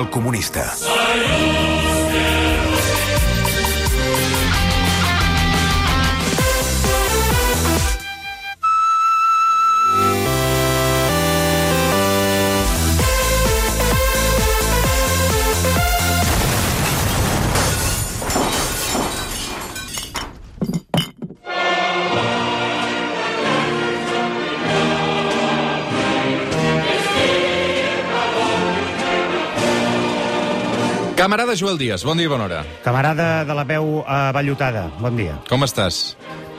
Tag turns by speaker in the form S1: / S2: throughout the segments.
S1: El comunista.
S2: Camarada Joel Díaz, bon dia i bona hora.
S3: Camarada de la veu eh, ballotada, bon dia.
S2: Com estàs?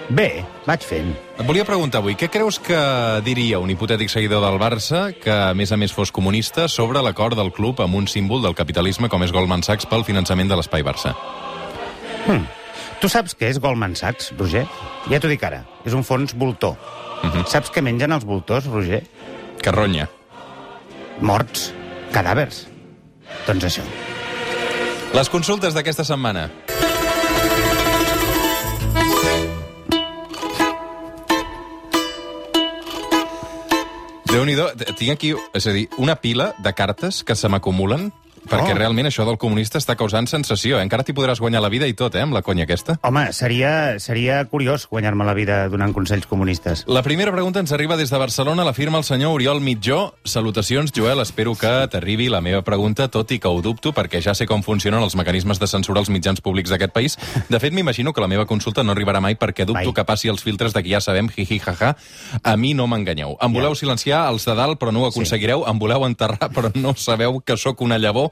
S3: Bé, vaig fent.
S2: Et volia preguntar avui, què creus que diria un hipotètic seguidor del Barça que, a més a més, fos comunista sobre l'acord del club amb un símbol del capitalisme com és Goldman Sachs pel finançament de l'espai Barça?
S3: Tu saps què és Goldman Sachs, Roger? Ja t'ho dic ara, és un fons voltor. Saps què mengen els voltors, Roger?
S2: Carronya.
S3: Morts, cadàvers. Doncs això.
S2: Les consultes d'aquesta setmana. déu nhi tinc aquí, és a dir, una pila de cartes que se m'acumulen perquè
S3: Oh.
S2: realment això del comunista està causant sensació. eh? Encara t'hi podràs guanyar la vida i tot, eh, amb la conya aquesta.
S3: Home, seria, seria curiós guanyar-me la vida donant consells comunistes.
S2: La primera pregunta ens arriba des de Barcelona, la firma el senyor Oriol Mitjó. Salutacions, Joel, espero que t'arribi la meva pregunta, tot i que ho dubto, perquè ja sé com funcionen els mecanismes de censura als mitjans públics d'aquest país. De fet, m'imagino que la meva consulta no arribarà mai, perquè dubto
S3: Mai.
S2: que passi els filtres de qui ja sabem, jiji, jaja. A mi no m'enganyeu. Em voleu silenciar els de dalt, però no ho aconseguireu. Em voleu enterrar, però no sabeu que sóc una llavor.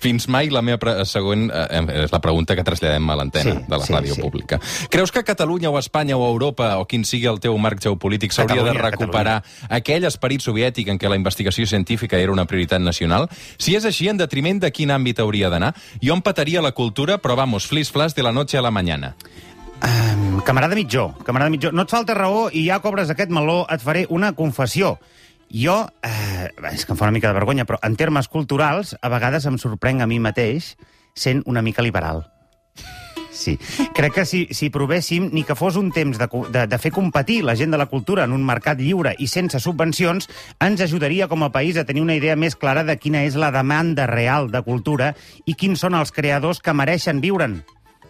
S2: Fins mai la meva pre- següent... eh, És la pregunta que traslladem a l'antena
S3: Sí,
S2: de la
S3: sí,
S2: ràdio
S3: sí.
S2: pública pública. Creus que Catalunya o Espanya o Europa o quin sigui el teu marc geopolític s'hauria de
S3: Catalunya,
S2: recuperar aquell esperit soviètic en què la investigació científica era una prioritat nacional? Si és així, en detriment de quin àmbit hauria d'anar? Jo empataria la cultura, però vamos, flis-flas de la noche a la mañana.
S3: Um, camarada mitjó, camarada mitjó, no et falta raó i ja cobres aquest meló, et faré una confessió. Jo, eh, és que em fa una mica de vergonya, però en termes culturals, a vegades em sorprenc a mi mateix sent una mica liberal. Sí. Crec que si, si provéssim ni que fos un temps de, co- de, de fer competir la gent de la cultura en un mercat lliure i sense subvencions, ens ajudaria com a país a tenir una idea més clara de quina és la demanda real de cultura i quins són els creadors que mereixen viure'n.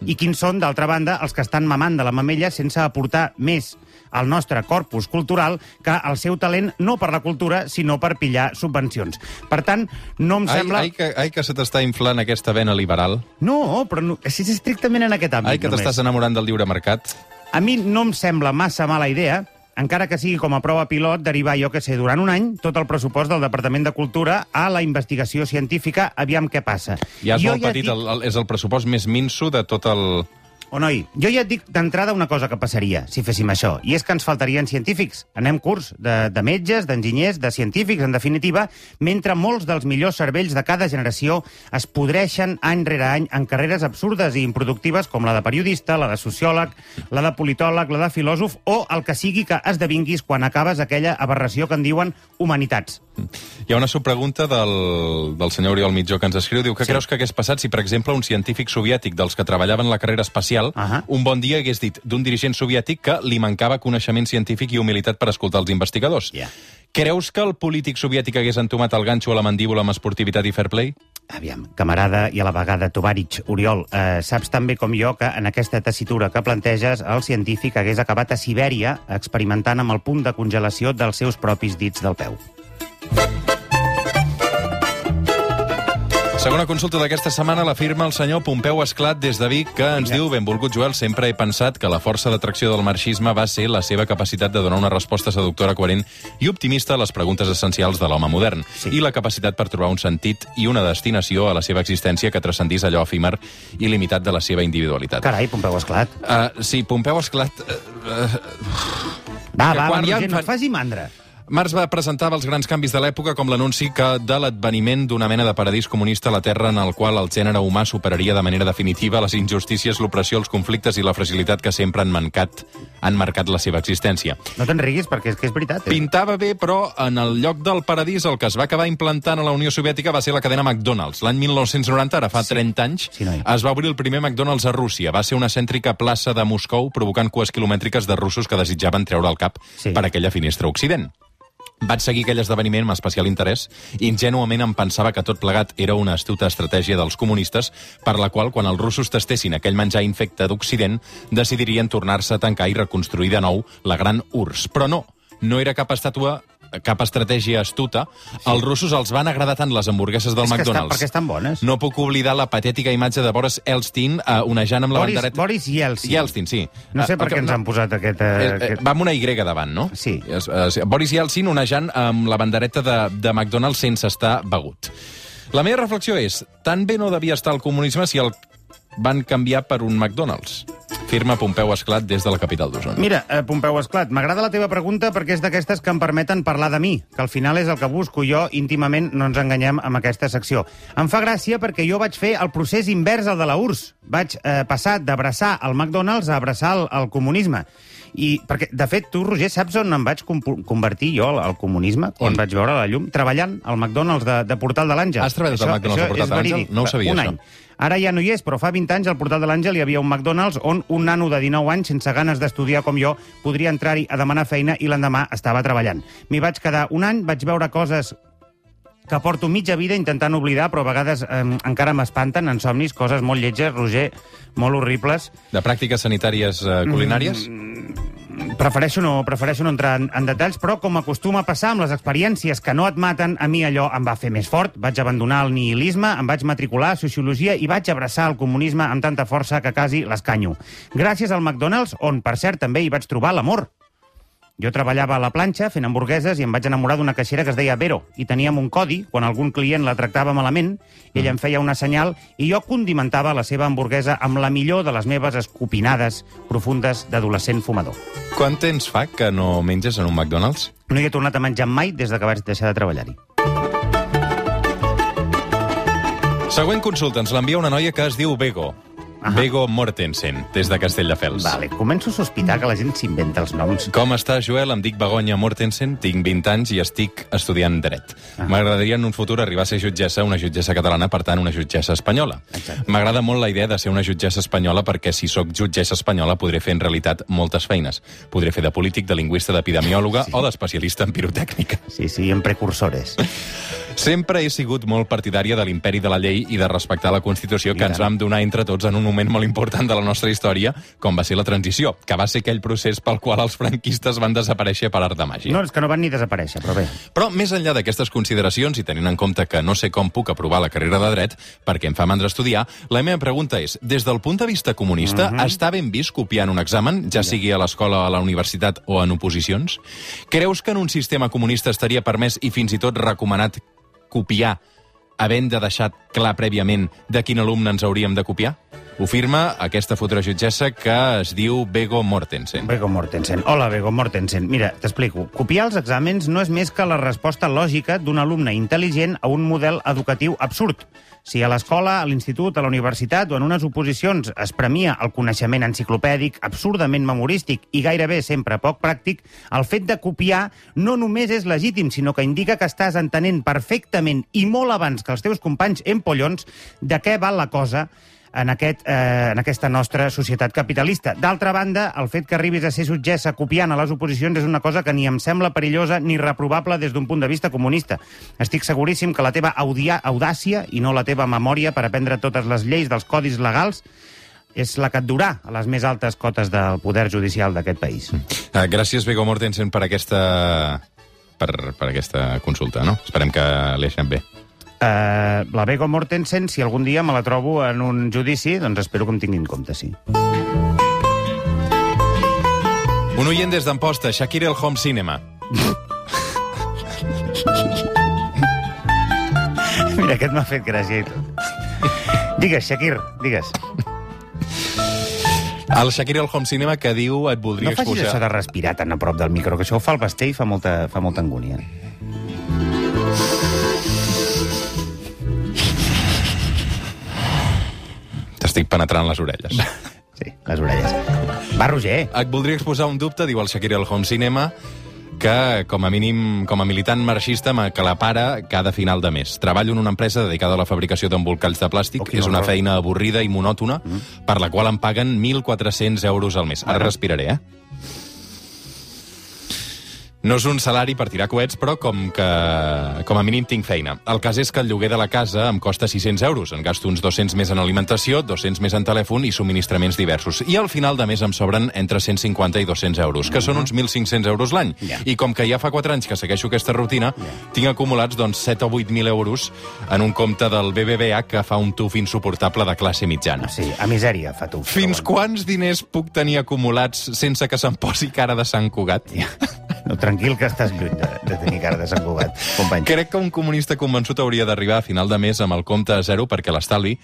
S3: I quins són, d'altra banda, els que estan mamant de la mamella sense aportar més al nostre corpus cultural que el seu talent no per la cultura, sinó per pillar subvencions. Per tant, no em
S2: Ai,
S3: sembla...
S2: ai, que, ai, que se t'està inflant aquesta vena liberal.
S3: No, però no... és estrictament en aquest àmbit.
S2: Ai, que
S3: només.
S2: t'estàs enamorant del lliure mercat.
S3: A mi no em sembla massa mala idea, encara que sigui com a prova pilot, derivar, jo que sé, durant un any, tot el pressupost del Departament de Cultura a la investigació científica, aviam què passa.
S2: Ja és
S3: Jo
S2: molt petit,
S3: et
S2: el, el, és el pressupost més minso de tot el...
S3: Dic... O noi, jo ja et dic d'entrada una cosa que passaria si féssim això, i és que ens faltarien científics. Anem curts de, de metges, d'enginyers, de científics, en definitiva, mentre molts dels millors cervells de cada generació es podreixen any rere any en carreres absurdes i improductives com la de periodista, la de sociòleg, la de politòleg, la de filòsof o el que sigui que esdevinguis quan acabes aquella aberració que en diuen humanitats.
S2: Hi ha una subpregunta del, del senyor Oriol Mitjó que ens escriu. Diu, que sí. creus que hagués passat si, per exemple, un científic soviètic dels que treballaven la carrera espacial
S3: Ahà.
S2: un bon dia hagués dit d'un dirigent soviètic que li mancava coneixement científic i humilitat per escoltar els investigadors?
S3: Ja.
S2: Creus que el polític soviètic hagués entomat el ganxo a la mandíbula amb esportivitat i fair play?
S3: Aviam, camarada i a la vegada Tovarich, Oriol, eh, saps també com jo que en aquesta tessitura que planteges el científic hagués acabat a Sibèria experimentant amb el punt de congelació dels seus propis dits del peu.
S2: Segona consulta d'aquesta setmana la firma el senyor Pompeu Esclat des de Vic, que ens diu, benvolgut Joel, sempre he pensat que la força d'atracció del marxisme va ser la seva capacitat de donar una resposta seductora, coherent i optimista a les preguntes essencials de l'home modern sí.
S3: Sí.
S2: i la capacitat per trobar un sentit i una destinació a la seva existència que transcendís allò efímer i limitat de la seva individualitat.
S3: Carai, Pompeu Esclat.
S2: Uh, sí, Pompeu Esclat... Uh,
S3: Va, va, va,
S2: Quan hi ha-
S3: Roger, no et faci mandra.
S2: Marx va presentar els grans canvis de l'època com l'anunci que de l'adveniment d'una mena de paradís comunista a la Terra en el qual el gènere humà superaria de manera definitiva les injustícies, l'opressió, els conflictes i la fragilitat que sempre han mancat, han marcat la seva existència.
S3: No te'n riguis, perquè és que és veritat. Eh?
S2: Pintava bé, però en el lloc del paradís el que es va acabar implantant a la Unió Soviètica va ser la cadena McDonald's. L'any 1990, ara fa 30 anys,
S3: Sí, noi.
S2: es va obrir el primer McDonald's a Rússia. Va ser una cèntrica plaça de Moscou provocant cues quilomètriques de russos que desitjaven treure el cap
S3: Sí.
S2: per aquella finestra a Occident. Vaig seguir aquell esdeveniment amb especial interès i ingenuament em pensava que tot plegat era una astuta estratègia dels comunistes per la qual, quan els russos tastessin aquell menjar infecte d'Occident, decidirien tornar-se a tancar i reconstruir de nou la gran URSS. Però no, no era cap estàtua cap estratègia astuta, als russos els van agradar tant les hamburgueses del
S3: És que estan-
S2: McDonald's.
S3: perquè estan bones.
S2: No puc oblidar la patètica imatge de Boris Elstein eh, onejant amb la
S3: Boris,
S2: bandereta...
S3: Boris Yeltsin.
S2: Yeltsin, sí.
S3: No sé
S2: Eh,
S3: per
S2: el
S3: què
S2: que-
S3: ens han posat aquest... eh,
S2: Eh, eh,
S3: aquest...
S2: va amb una Y davant, no?
S3: Sí.
S2: Es, es, Boris Yeltsin onejant amb la bandereta de, de McDonald's sense estar begut. La meva reflexió és, tan bé no devia estar el comunisme si el van canviar per un McDonald's. Firma Pompeu Esclat des de la capital d'Osona.
S3: Mira, eh, Pompeu Esclat, m'agrada la teva pregunta perquè és d'aquestes que em permeten parlar de mi, que al final és el que busco jo íntimament, no ens enganyem amb aquesta secció. Em fa gràcia perquè jo vaig fer el procés invers al de la URSS. Vaig eh, passar d'abraçar el McDonald's a abraçar el, el comunisme. I, perquè, de fet, tu, Roger, saps on em vaig compu- convertir jo al- al comunisme?
S2: On?
S3: Quan vaig veure la llum? Treballant al McDonald's de, de Portal de l'Àngel.
S2: Has treballat al
S3: Això-
S2: McDonald's de
S3: això
S2: Portal
S3: és
S2: de l'Àngel?
S3: verídic.
S2: No ho sabia,
S3: Un
S2: això.
S3: any. Ara ja no hi és, però fa 20 anys al portal de l'Àngel hi havia un McDonald's on un nano de 19 anys, sense ganes d'estudiar com jo, podria entrar-hi a demanar feina i l'endemà estava treballant. M'hi vaig quedar un any, vaig veure coses que porto mitja vida intentant oblidar, però a vegades eh, encara m'espanten en somnis, coses molt lletges, Roger, molt horribles.
S2: De pràctiques sanitàries eh, culinàries? Mm,
S3: Prefereixo no, prefereixo no entrar en, en detalls, però com acostuma a passar amb les experiències que no et maten, a mi allò em va fer més fort. Vaig abandonar el nihilisme, em vaig matricular a Sociologia i vaig abraçar el comunisme amb tanta força que quasi l'escanyo. Gràcies al McDonald's, on, per cert, també hi vaig trobar l'amor. Jo treballava a la planxa fent hamburgueses i em vaig enamorar d'una caixera que es deia Vero i teníem un codi, quan algun client la tractava malament, ella em feia una senyal i jo condimentava la seva hamburguesa amb la millor de les meves escopinades profundes d'adolescent fumador.
S2: Quant temps fa que no menges en un McDonald's?
S3: No hi he tornat a menjar mai des de que vaig deixar de treballar-hi.
S2: Següent consulta ens l'envia una noia que es diu Bego.
S3: Ahà.
S2: Bego Mortensen, des de Castelldefels.
S3: Vale, començo a sospitar que la gent s'inventa els noms.
S2: Com està, Joel? Em dic Begoña Mortensen, tinc 20 anys i estic estudiant dret. M'agradaria en un futur arribar a ser jutgessa, una jutgessa catalana, per tant, una jutgessa espanyola.
S3: Exacte.
S2: M'agrada molt la idea de ser una jutgessa espanyola perquè si sóc jutgessa espanyola podré fer en realitat moltes feines. Podré fer de polític, de lingüista, d'epidemiòloga sí. o d'especialista en pirotècnica.
S3: Sí, sí, en precursores.
S2: Sempre he sigut molt partidària de l'imperi de la llei i de respectar la Constitució que
S3: I
S2: ens
S3: tant.
S2: vam donar entre tots en un moment molt important de la nostra història, com va ser la transició, que va ser aquell procés pel qual els franquistes van desaparèixer per art de màgia.
S3: No, és que no van ni desaparèixer, però bé.
S2: Però més enllà d'aquestes consideracions i tenint en compte que no sé com puc aprovar la carrera de dret perquè em fa mandra estudiar, la meva pregunta és, des del punt de vista comunista, està ben vist copiar en un examen, ja sigui a l'escola, a la universitat o en oposicions? Creus que en un sistema comunista estaria permès i fins i tot recomanat copiar havent de deixar clar prèviament de quin alumne ens hauríem de copiar? Ho firma aquesta futura jutgessa que es diu Bego Mortensen.
S3: Bego Mortensen. Hola, Bego Mortensen. Mira, t'explico. Copiar els exàmens no és més que la resposta lògica d'un alumne intel·ligent a un model educatiu absurd. Si a l'escola, a l'institut, a la universitat o en unes oposicions es premia el coneixement enciclopèdic, absurdament memorístic i gairebé sempre poc pràctic, el fet de copiar no només és legítim, sinó que indica que estàs entenent perfectament i molt abans que els teus companys empollons de què val la cosa en, aquest, eh, en aquesta nostra societat capitalista. D'altra banda, el fet que arribis a ser jutgessa copiant a les oposicions és una cosa que ni em sembla perillosa ni reprobable des d'un punt de vista comunista. Estic seguríssim que la teva audia, audàcia i no la teva memòria per aprendre totes les lleis dels codis legals és la que et durà a les més altes cotes del poder judicial d'aquest país.
S2: Eh, Gràcies, Viggo Mortensen, per aquesta per, per aquesta consulta, no? Esperem que li hagin bé.
S3: Uh, la Bego Mortensen, si algun dia me la trobo en un judici, doncs espero que em tinguin en compte, sí.
S2: Un oient des d'Amposta, Shakira el Home Cinema.
S3: Mira, aquest m'ha fet gràcia i tot. Digues, Shakir, digues.
S2: El Shakira el Home Cinema que diu et
S3: No
S2: voldria
S3: facis això
S2: exposar...
S3: de respirar tan a prop del micro, que això ho fa el Basté i fa molta, fa molta angúnia.
S2: T'estic penetrant les orelles.
S3: Sí, les orelles. Va, Roger.
S2: Et voldria exposar un dubte, diu el Shakira el Home Cinema, que com a mínim, com a militant marxista, que la para cada final de mes. Treballo en una empresa dedicada a la fabricació d'embolcalls de plàstic.
S3: Oh, quin
S2: és una
S3: horror.
S2: feina avorrida i monòtona,
S3: Mm.
S2: per la qual em paguen 1.400 euros al mes. Ara respiraré, eh? No és un salari per tirar coets, però com que com a mínim tinc feina. El cas és que el lloguer de la casa em costa 600 euros. En gasto uns 200 més en alimentació, 200 més en telèfon i subministraments diversos. I al final de mes em sobren entre 150 i 200 euros, que són uns 1.500 euros l'any.
S3: Ja.
S2: I com que Mhm. ja fa 4 anys que segueixo aquesta rutina, tinc acumulats doncs, 7 o 8.000 euros en un compte del BBVA que fa un tuf insuportable de classe mitjana.
S3: Sí, a misèria fa tu.
S2: Fins
S3: però
S2: quants diners puc tenir acumulats sense que se'm posi cara de Sant Cugat?
S3: bueno. No, tranquil, que estàs lluny de, de tenir cara de Sant Cugat, company.
S2: Crec que un comunista convençut hauria d'arribar a final de mes amb el compte a zero perquè l'estalvi,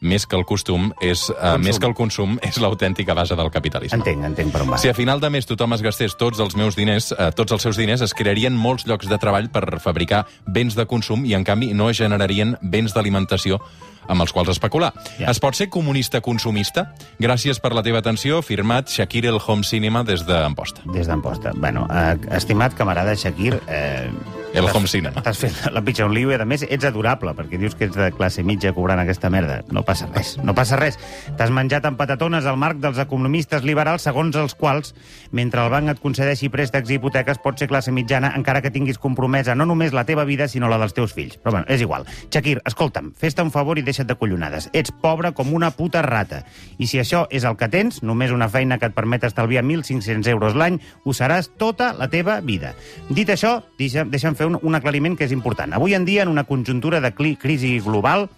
S2: més que el costum, és, eh, més que el consum, és l'autèntica base del capitalisme.
S3: Entenc, entenc per on va.
S2: Si a final de mes tothom es gastés tots els meus diners, eh, tots els seus diners, es crearien molts llocs de treball per fabricar béns de consum i, en canvi, no es generarien béns d'alimentació amb els quals especular.
S3: Ja.
S2: Es pot ser comunista consumista? Gràcies per la teva atenció. Firmat Shakir el Home Cinema des d'Amposta.
S3: Des d'Amposta. Bueno, eh, estimat camarada Shakir... Eh,
S2: El
S3: t'has-
S2: home cinema.
S3: T'has fet la pitja un lío i, a més, ets adorable, perquè dius que ets de classe mitja cobrant aquesta merda. No passa res, no passa res. T'has menjat amb patatones al marc dels economistes liberals, segons els quals, mentre el banc et concedeixi préstecs i hipoteques, pots ser classe mitjana encara que tinguis compromesa no només la teva vida, sinó la dels teus fills. Però, bueno, és igual. Shakir, escolta'm, fes-te un favor i deixa't de collonades. Ets pobre com una puta rata. I si això és el que tens, només una feina que et permet estalviar 1.500 euros l'any, ho seràs tota la teva vida. Dit això, deixa, deixa'm fer un, un aclariment que és important. Avui en dia, en una conjuntura de cli- crisi global,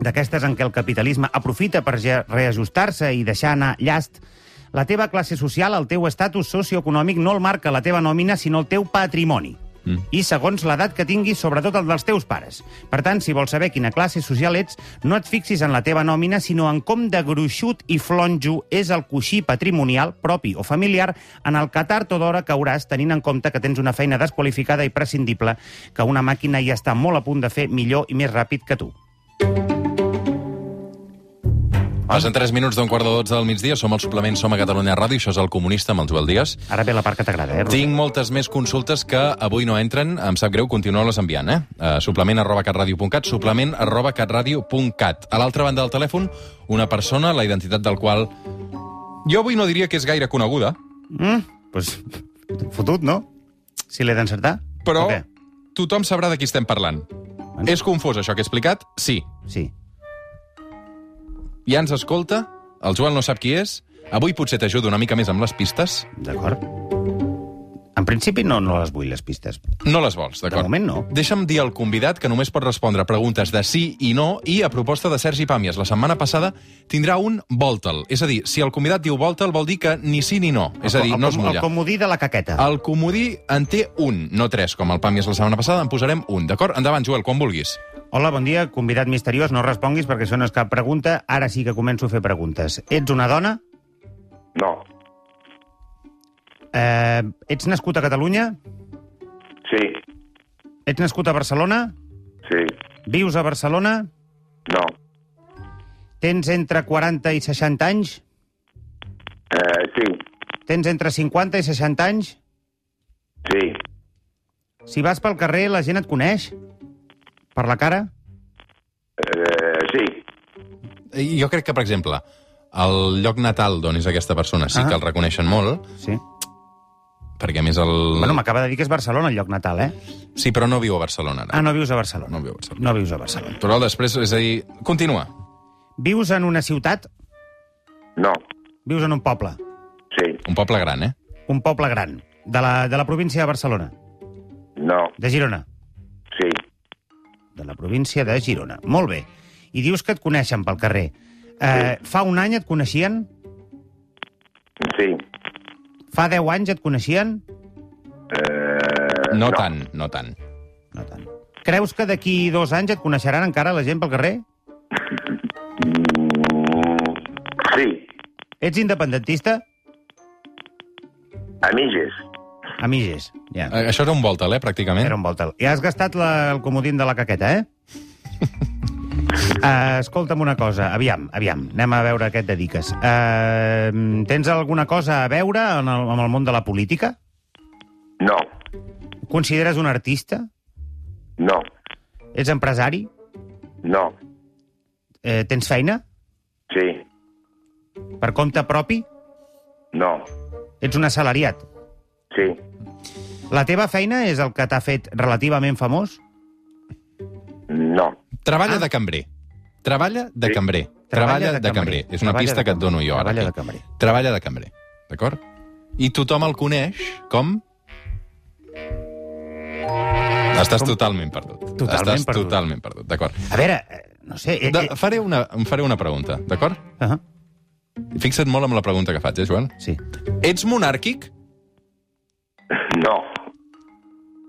S3: d'aquestes en què el capitalisme aprofita per ja- reajustar-se i deixar anar llast, la teva classe social, el teu estatus socioeconòmic, no el marca la teva nòmina, sinó el teu patrimoni. Mm. I segons l'edat que tinguis, sobretot el dels teus pares. Per tant, si vols saber quina classe social ets, no et fixis en la teva nòmina, sinó en com de gruixut i flonjo és el coixí patrimonial propi o familiar en el que tard o d'hora cauràs tenint en compte que tens una feina desqualificada i prescindible que una màquina ja està molt a punt de fer millor i més ràpid que tu.
S2: Passen 3 minuts d'un quart de 12 del migdia, som al suplement Som a Catalunya Ràdio, això és El Comunista amb el Joel Díaz.
S3: Ara ve la part que t'agrada, eh? Roger?
S2: Tinc moltes més consultes que avui no entren, em sap greu, continueu-les enviant, eh? Uh, suplement arroba catradio.cat, suplement arroba catradio.cat. A l'altra banda del telèfon, una persona, la identitat del qual jo avui no diria que és gaire coneguda,
S3: Mm, pues, fotut, no? Si l'he d'encertar?
S2: però
S3: O què?
S2: tothom sabrà de qui estem parlant. És confús això que he explicat? Sí.
S3: Sí.
S2: Ja ens escolta, el Joel no sap qui és, avui potser t'ajudo una mica més amb les pistes.
S3: D'acord. En principi no, no les vull, les pistes.
S2: No les vols,
S3: De
S2: d'acord?
S3: moment no.
S2: Deixa'm dir al convidat que només pot respondre preguntes de sí i no i a proposta de Sergi Pàmies. La setmana passada tindrà un voltel. És a dir, si el convidat diu voltel vol dir que ni sí ni no. És a
S3: El-
S2: dir,
S3: el,
S2: no es
S3: com-
S2: mulla.
S3: El comodí de la caqueta.
S2: El comodí en té un, no tres, com el Pàmies la setmana passada. En posarem un, d'acord? Endavant, Joel, quan vulguis.
S3: Hola, bon dia, convidat misteriós. No responguis perquè això no és cap pregunta. Ara sí que començo a fer preguntes. Ets una dona?
S1: No.
S3: Eh, ets nascut a Catalunya?
S1: Sí.
S3: Ets nascut a Barcelona?
S1: Sí.
S3: Vius a Barcelona?
S1: No.
S3: Tens entre 40 i 60 anys?
S1: Eh, sí.
S3: Tens entre 50 i 60 anys?
S1: Sí.
S3: Si vas pel carrer, la gent et coneix? Per la cara?
S1: Eh, sí.
S2: I Jo crec que, per exemple, el lloc natal d'on és aquesta persona sí
S3: Ah.
S2: que el reconeixen molt,
S3: Sí.
S2: perquè a més el...
S3: Bueno, m'acaba de dir que és Barcelona, el lloc natal, eh?
S2: Sí, però no viu a Barcelona, ara.
S3: Ah, no vius a Barcelona.
S2: No viu a Barcelona.
S3: No vius a Barcelona.
S2: Però després, és a dir... Continua.
S3: Vius en una ciutat?
S1: No.
S3: Vius en un poble?
S1: Sí.
S2: Un poble gran, eh?
S3: Un poble gran. De la, de la província de Barcelona?
S1: No.
S3: De Girona?
S1: Sí.
S3: De la província de Girona. Molt bé. I dius que et coneixen pel carrer. Eh, fa un any et coneixien?
S1: Sí.
S3: Fa 10 anys et coneixien?
S1: Eh,
S2: No, tant, no tant.
S3: No tant. Creus que d'aquí dos anys et coneixeran encara la gent pel carrer?
S1: Mm, sí.
S3: Ets independentista?
S1: A mitges.
S3: Amigues. Ja.
S2: Eh, Això era un voltel, eh, pràcticament.
S3: Era un voltel. I has gastat la, el comodín de la caqueta, eh? Uh, escolta'm una cosa, aviam, aviam, anem a veure què et dediques. Uh, tens alguna cosa a veure en el, amb el món de la política?
S1: No.
S3: Consideres un artista?
S1: No.
S3: Ets empresari?
S1: No.
S3: Uh, tens feina?
S1: Sí.
S3: Per compte propi?
S1: No.
S3: Ets un assalariat?
S1: Sí.
S3: La teva feina és el que t'ha fet relativament famós?
S1: no.
S2: Treballa
S3: Ah.
S2: de cambrer. Treballa de
S1: Sí.
S2: cambrer. Treballa de cambrer. És una
S3: Treballa
S2: pista
S3: de
S2: que et dono
S3: cambrer.
S2: jo ara.
S3: Treballa
S2: aquí.
S3: de cambrer.
S2: Treballa de cambrer, d'acord? I tothom el coneix com... Estàs
S3: Com?
S2: totalment perdut.
S3: Totalment
S2: Estàs
S3: perdut.
S2: totalment perdut, d'acord.
S3: A veure, eh, no sé... Eh,
S2: De,
S3: eh,
S2: faré una, em faré una pregunta, d'acord?
S3: uh -huh.
S2: Fixa't molt amb la pregunta que faig, eh, Joan?
S3: Sí,
S2: Ets monàrquic?
S1: No.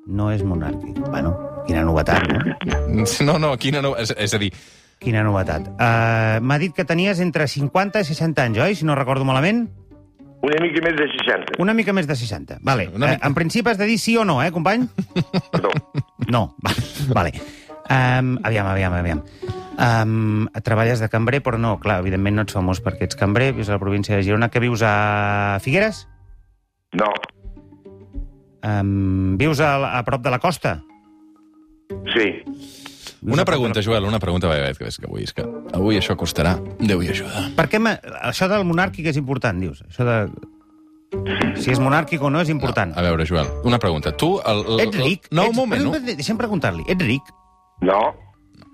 S3: no és monàrquic. Bueno, quina novetat, no?
S2: No, no, quina no... És, és a dir,
S3: Quina novetat. Uh, M'ha dit que tenies entre 50 i 60 anys, oi? Si no recordo malament.
S1: Una mica més de 60.
S3: Una mica més de 60. Vale.
S2: Una
S3: Eh,
S2: mica.
S3: en principi has de dir sí o no, eh, company?
S1: Perdó.
S3: No. Va- Vale. Um, aviam, aviam, aviam. Um, treballes de cambrer, però no, clar, evidentment no ets famós perquè ets cambrer, vius a la província de Girona, que vius a Figueres?
S1: No.
S3: Um, vius a, la- a prop de la costa?
S1: Sí.
S3: Vius
S2: una
S3: a prop de la-
S2: pregunta, Joel, una pregunta, vaja, que és que avui, és que avui això costarà. Déu hi ajuda.
S3: Per què m'ha- això del monàrquic és important, dius? Això de... Si és monàrquic o no és important.
S2: A veure, Joel, una pregunta. Tu... El, el,
S3: Ets ric?
S2: No,
S3: ets...
S2: un moment, no?
S3: no? Deixa'm preguntar-li. Ets ric?
S1: No.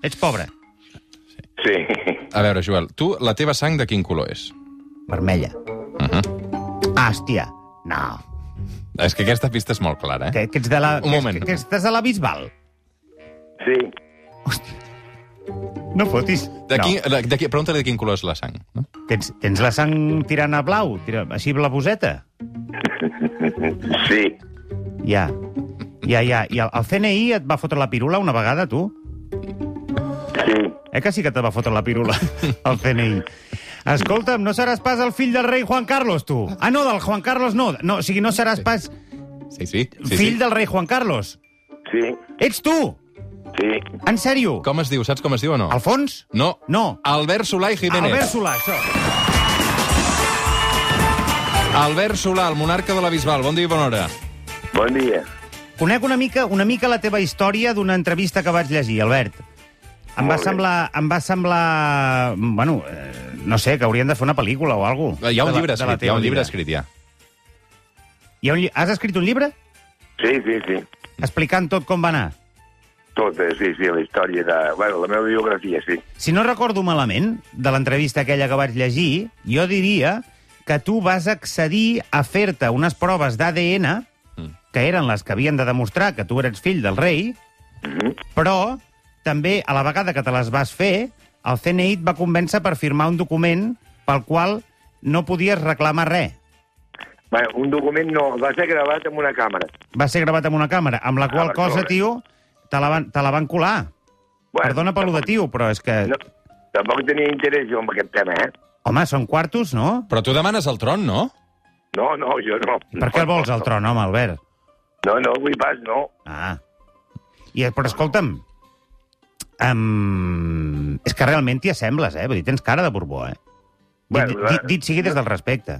S3: Ets pobre?
S1: Sí.
S2: A veure, Joel, tu, la teva sang de quin color és?
S3: Vermella.
S2: Uh -huh.
S3: Ah, hòstia. No.
S2: És que aquesta pista és molt clara, eh?
S3: Que, que ets de la...
S2: Un moment.
S3: Que, que estàs de la Bisbal.
S1: Sí.
S3: No fotis.
S2: De
S3: no.
S2: quin, de, de, qui- Pregunta-li de quin color és la sang. No?
S3: Tens, tens la sang tirant a blau, tira, així blavoseta.
S1: Sí.
S3: Ja. Ja, ja. I el, el CNI et va fotre la pirula una vegada, tu?
S1: Sí.
S3: Eh que sí que te va fotre la pirula, el CNI? Escolta'm, no seràs pas el fill del rei Juan Carlos, tu? Ah, no, del Juan Carlos no. no o sigui, no seràs pas
S2: Sí, sí. sí,
S3: sí, fill
S2: sí.
S3: sí. del rei Juan Carlos.
S1: Sí.
S3: Ets tu!
S1: Sí.
S3: En sèrio?
S2: Com es diu? Saps com es diu o no?
S3: Alfons?
S2: No.
S3: No.
S2: Albert Solà i Jiménez.
S3: Albert Solà, això.
S2: Albert Solà, el monarca de la Bisbal. Bon dia i bona hora.
S1: Bon dia.
S3: Conec una mica, una mica la teva història d'una entrevista que vaig llegir, Albert. Em va
S1: Molt bé.
S3: semblar... Em va semblar... Bueno, eh, no sé, que haurien de fer una pel·lícula o alguna cosa.
S2: Hi ha un
S3: de la-
S2: llibre
S3: de la
S2: escrit, hi ha
S3: teva
S2: un llibre
S3: vida.
S2: escrit, ja.
S3: Hi ha un lli... Has escrit un llibre?
S1: Sí, sí, sí.
S3: Explicant tot com va anar.
S1: Tota, sí, sí, la història de... Bueno, la meva biografia, sí.
S3: Si no recordo malament, de l'entrevista aquella que vaig llegir, jo diria que tu vas accedir a fer-te unes proves d'ADN,
S2: Mm.
S3: que eren les que havien de demostrar que tu eres fill del rei,
S1: Mhm.
S3: però també, a la vegada que te les vas fer, el CNI et va convèncer per firmar un document pel qual no podies reclamar res.
S1: Bueno, un document no, va ser gravat amb una càmera.
S3: Va ser gravat amb una càmera, amb la qual
S1: va,
S3: cosa,
S1: correcte.
S3: tio, te la van, te la van colar.
S1: Bueno,
S3: Perdona pel lo de tio, però és que...
S1: No, tampoc tenia interès jo en aquest tema, eh?
S3: Home, són quartos, no?
S2: Però tu demanes el tron, no?
S1: No, no, jo no.
S3: Per què el vols, el tron, home, Albert?
S1: No, no, vull pas, no.
S3: Ah. I, però escolta'm, um, és que realment t'hi assembles, eh? Vull dir, tens cara de Borbó, eh? Bueno,
S1: Bueno,
S3: dit,
S1: va.
S3: dit, dit sigui des del respecte.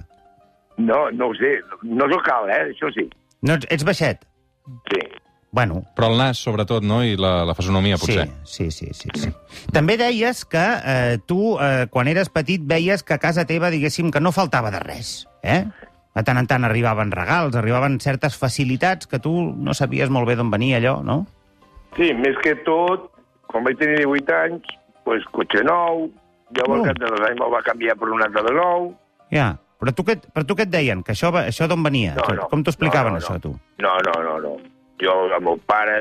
S1: No, no ho sé. No és local, eh? Això sí.
S3: No, ets, ets baixet?
S1: Sí.
S3: Bueno,
S2: Però el nas, sobretot, no? I la, la fesonomia,
S3: sí,
S2: potser.
S3: sí, sí, sí, sí. També deies que eh, tu, eh, quan eres petit, veies que a casa teva, diguéssim, que no faltava de res, eh? De tant en tant arribaven regals, arribaven certes facilitats que tu no sabies molt bé d'on venia allò, no?
S1: Sí, més que tot, quan vaig tenir 18 anys, doncs cotxe nou, llavors
S3: No.
S1: no. cap de dos anys me'l va canviar per un altre de nou.
S3: Ja. Però tu què, però tu què et deien? Que això, va- això d'on venia?
S1: No, no.
S3: Com t'ho explicaven,
S1: No, no, no.
S3: això, tu?
S1: No, no, no, no. Jo, el meu pare,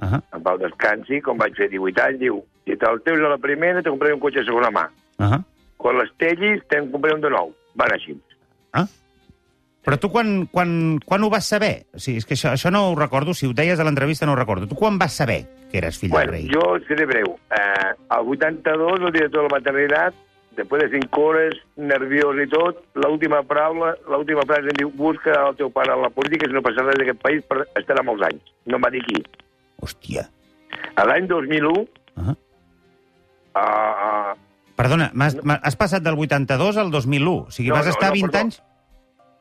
S3: Uh -huh.
S1: en pau descansi, quan vaig fer 18 anys, diu, si te'l teus a la primera, te compraré un cotxe de segona mà.
S3: Uh -huh.
S1: Quan les tellis, te'n compraré un de nou. Van així.
S3: Però tu quan, quan, quan ho vas saber? O sigui, és que això, això no ho recordo, si ho deies a l'entrevista no ho recordo. Tu quan vas saber que eres fill
S1: Bueno,
S3: del rei?
S1: yo seré breu. Eh, al 82, el director de la maternidad, després de 5 hores, nerviós i tot, l'última paraula, l'última frase em diu busca el teu pare a la política si no passarà res d'aquest país per estarà molts anys. No em va dir qui.
S3: Hòstia.
S1: A l'any 2001,
S3: Uh -huh.
S1: a, a,
S3: Perdona, m'has- m'ha- has passat del 82 al 2001, o sigui,
S1: No,
S3: vas
S1: no,
S3: estar
S1: no,
S3: 20
S1: perdó.
S3: anys...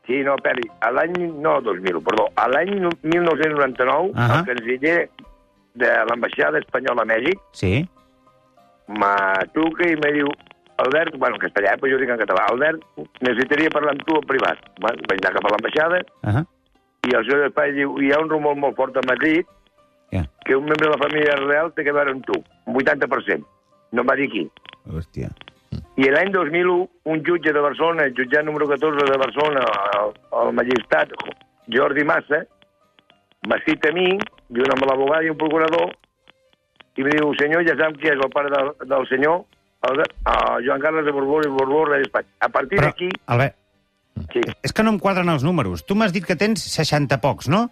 S1: sí, no, Peri, a l'any, no 2000, perdó, a l'any 1999,
S3: Ahà.
S1: el canciller de l'ambaixada espanyola a Mèxic
S3: Sí,
S1: me truca i me diu Albert, bueno, en castellà, però jo ho dic en català, Albert, necessitaria parlar amb tu en privat. Bueno, vaig anar cap a l'ambaixada,
S3: uh -huh.
S1: i el seu espai diu hi ha un rumor molt fort a Madrid
S3: Què?
S1: que un membre de la família real té que veure amb tu, un 80%. No em va dir qui.
S3: Hòstia.
S1: I l'any 2001, un jutge de Barcelona, el jutjat número 14 de Barcelona, el, el magistrat Jordi Massa, m'ha cit a mi, junt amb l'abogada i un procurador, i em diu, senyor, ja sap qui és el pare del, del senyor, el, de- el Joan Carles de Borbó i Borbó de Despatx. A partir
S3: Però,
S1: d'aquí,
S3: Albert,
S1: sí,
S3: és que no em quadren els números. Tu m'has dit que tens 60 pocs, no?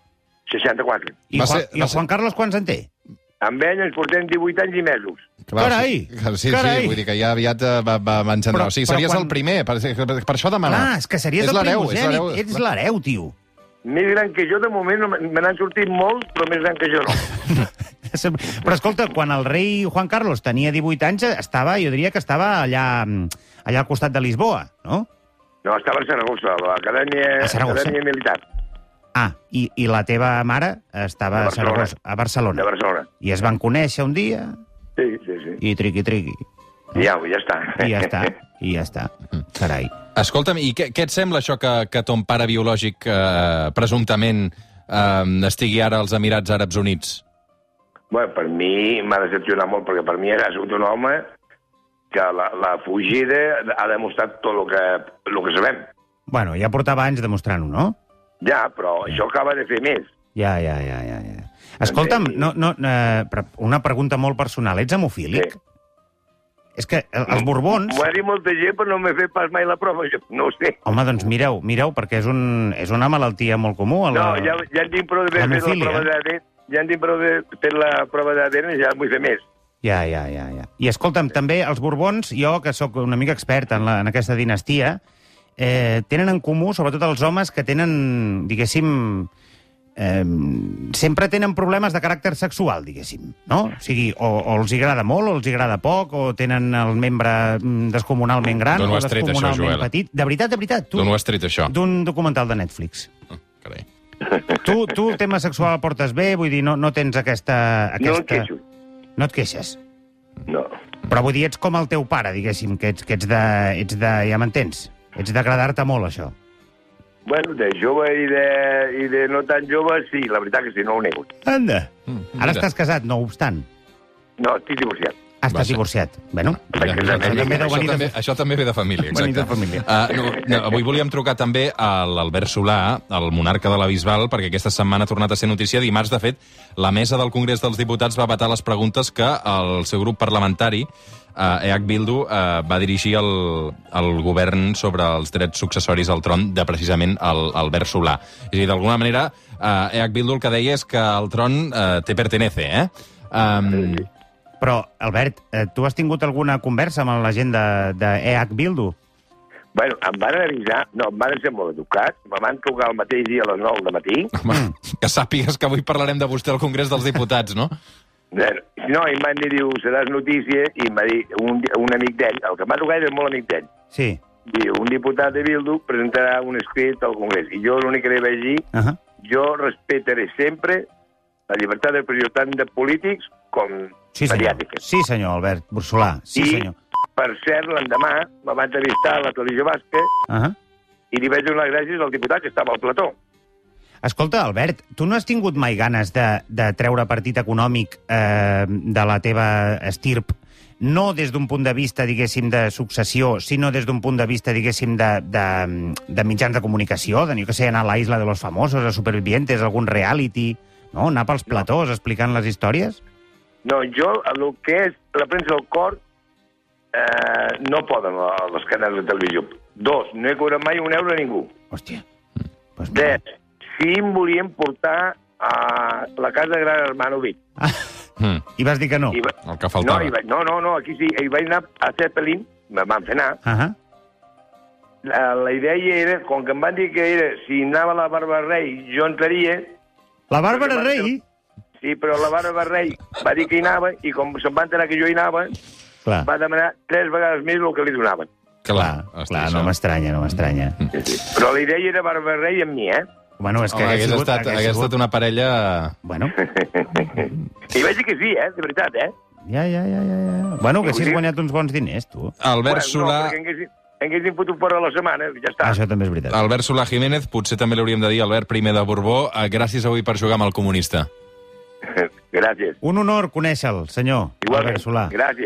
S1: 64.
S3: I,
S2: Va
S3: Juan,
S2: ser-
S3: i
S2: va
S3: el
S2: ser-
S3: Juan Carlos quants en té?
S1: Amb ell ens portem 18 anys i mesos.
S3: Carai!
S2: Sí, sí,
S3: Carai!
S2: sí, vull dir que ja aviat eh, va, va encendre.
S3: Però-
S2: o sigui,
S3: però
S2: series
S3: quan-
S2: el primer, per, per, per això
S3: Clar,
S2: demanar.
S3: és que series el
S2: l'hereu,
S3: primogènit.
S2: l'hereu.
S3: Ets l'hereu, tio.
S1: Més gran que jo, de moment, no me me n'han sortit molts, però més gran que jo no.
S3: Però escolta, quan el rei Juan Carlos tenia 18 anys, estava, jo diria que estava allà, mm, allà al costat de Lisboa, no?
S1: No, estava a Saragossa, a l'Acadèmia
S3: A Saragossa?
S1: Acadèmia Militar
S3: Ah, i, i la teva mare estava
S1: A
S3: a,
S1: Barcelona.
S3: Saragossa, a Barcelona.
S1: de Barcelona.
S3: I es van conèixer un dia,
S1: Sí, sí, sí.
S3: i triqui-triqui.
S1: Ja, ja està.
S3: I ja està, i ja està. Carai.
S2: Escolta'm, i què, què et sembla això que, que ton pare biològic, eh, presumptament, eh, estigui ara als Emirats Àrabs Units?
S1: bueno, per mi m'ha decepcionat molt, perquè per mi era sigut un home que la, la fugida ha demostrat tot el que, el que sabem.
S3: Bueno, ja portava anys demostrant-ho, no?
S1: Ja, però això acaba de fer més.
S3: Ja, ja, ja, ja. ja. Escolta'm, no, no, eh, però una pregunta molt personal. Ets hemofílic?
S1: Sí.
S3: És que eh, els Borbons...
S1: M'ho ha dit molta gent, però no m'he fet pas mai la prova. Jo. No ho sé.
S3: Home, doncs mireu, mireu, perquè és, un, és una malaltia molt comú. a La...
S1: No, ja, ja en tinc prou de fer la
S3: L'hemofília.
S1: prova d'ADN. Ja en tinc prou de fer la prova d'ADN, ja en vull fer més.
S3: ja, ja, ja, ja. I escolta'm, també els Borbons, jo que sóc una mica expert en, la, en aquesta dinastia, eh, tenen en comú, sobretot els homes que tenen, diguéssim, eh, sempre tenen problemes de caràcter sexual, diguéssim, no? O sigui, o, o els hi agrada molt, o els hi agrada poc, o tenen el membre mm, descomunalment gran,
S2: D'on ho
S3: o
S2: has tret, això,
S3: descomunalment
S2: Joel?
S3: petit. De veritat, de veritat, tu,
S2: D'on ho has tret, això?
S3: d'un documental de Netflix.
S2: Ah, Carai.
S3: Tu, tu el tema sexual el portes bé, vull dir, no, no tens aquesta... aquesta...
S1: No em queixo.
S3: No et queixes.
S1: No.
S3: Però vull dir, ets com el teu pare, diguéssim, que ets, que ets de... Ets de ja m'entens? Ets d'agradar-te molt, això.
S1: Bueno, de jove i de, i de no tan jove, sí, la veritat que sí, no ho nego.
S3: Anda.
S2: Mm,
S3: Ara
S2: mira.
S3: estàs casat, no obstant.
S1: No, estic divorciat.
S3: Has
S2: Va
S3: estat
S2: ser.
S3: divorciat. Bueno,
S2: Mira,
S1: Perquè
S2: mira,
S1: també
S2: mira,
S1: ve de
S2: això,
S3: venir de-
S2: també, això també ve de família,
S3: Venir
S2: exacte.
S3: de família.
S2: Uh, no, no, avui volíem trucar també a l'Albert Solà, el monarca de la Bisbal, perquè aquesta setmana ha tornat a ser notícia. Dimarts, de fet, la mesa del Congrés dels Diputats va vetar les preguntes que el seu grup parlamentari, uh, EH Bildu, uh, va dirigir el, el govern sobre els drets successoris al tron de precisament el, Albert Solà. És a dir, d'alguna manera, uh, EH Bildu el que deia és que el tron uh, te pertenece, eh? Um,
S3: Però, Albert, eh, tu has tingut alguna conversa amb la gent de, de EH Bildu?
S1: Bueno, em van avisar, no, em van ser molt educats, me van trucar el mateix dia a les 9 del matí,
S2: Home,
S3: Mm.
S2: que sàpigues que avui parlarem de vostè al Congrés dels Diputats, no?
S1: Eh, no, i em van dir, diu, seràs notícia, i em va dir un, un amic d'ell, el que em va trucar era molt amic d'ell,
S3: Sí.
S1: diu, un diputat de Bildu presentarà un escrit al Congrés, i jo l'únic que li vaig dir,
S3: Uh -huh.
S1: jo respectaré sempre la llibertat d'expressió tant de polítics com
S3: Sí, senyor.
S1: mediàtica.
S3: Sí, senyor, Albert Bursolà. Sí,
S1: I,
S3: senyor.
S1: per cert, l'endemà me va entrevistar a la televisió basca
S3: Uh -huh.
S1: i li vaig donar les gràcies al diputat que estava al plató.
S3: Escolta, Albert, tu no has tingut mai ganes de, de treure partit econòmic eh, de la teva estirp, no des d'un punt de vista, diguéssim, de successió, sinó des d'un punt de vista, diguéssim, de, de, de mitjans de comunicació, de, jo que sé, anar a la Isla de los Famosos, a Supervivientes, a algun reality, no? anar pels platós explicant les històries?
S1: No, jo, el que és la premsa del cor, eh, no poden eh, les canals de televisió. Dos, no he cobrat mai un euro a ningú.
S3: Hòstia. Pues mira.
S1: Tres, sí em volien portar a la casa de Gran Hermano Vic.
S3: Ah,
S2: Mm,
S3: I vas dir que no.
S1: I va...
S2: el que
S1: no,
S2: faltava.
S1: i va... no, no, no, aquí sí. I vaig anar a Zeppelin, me van fer anar.
S3: Ah -ha.
S1: La, la idea hi era, com que em van dir que era, si anava la Barba Rei, jo entraria,
S3: La Bàrbara Rei...
S1: sí, però la Barba Rei va dir que hi anava, i com se'n va enterar que jo hi anava,
S3: Clar,
S1: va demanar tres vegades més el que li donaven.
S3: clar,
S2: hosti,
S3: clar
S2: això. Mm.
S3: no m'estranya, no m'estranya.
S1: Sí, sí. Però la idea era Barba Rei amb mi, eh?
S3: Bueno, és que
S2: Home, hagués,
S3: sigut,
S2: estat, hagués estat una parella...
S3: Bueno,
S1: I vaig dir que sí, eh? De veritat, eh?
S3: Ja, ja, ja, ja. ja. Bueno, que si has guanyat uns bons diners, tu.
S2: Albert
S1: no,
S2: Solà...
S1: perquè haguessin, haguessin fotut fora la setmana, ja està.
S3: Això també és veritat.
S2: Albert Solà Jiménez, potser també l'hauríem de dir Albert I de Borbó, eh, gràcies avui per jugar amb el comunista.
S1: Gràcies.
S3: Un honor conèixer-lo, senyor
S1: Igualment.
S3: Albert Solà.
S1: Gràcies.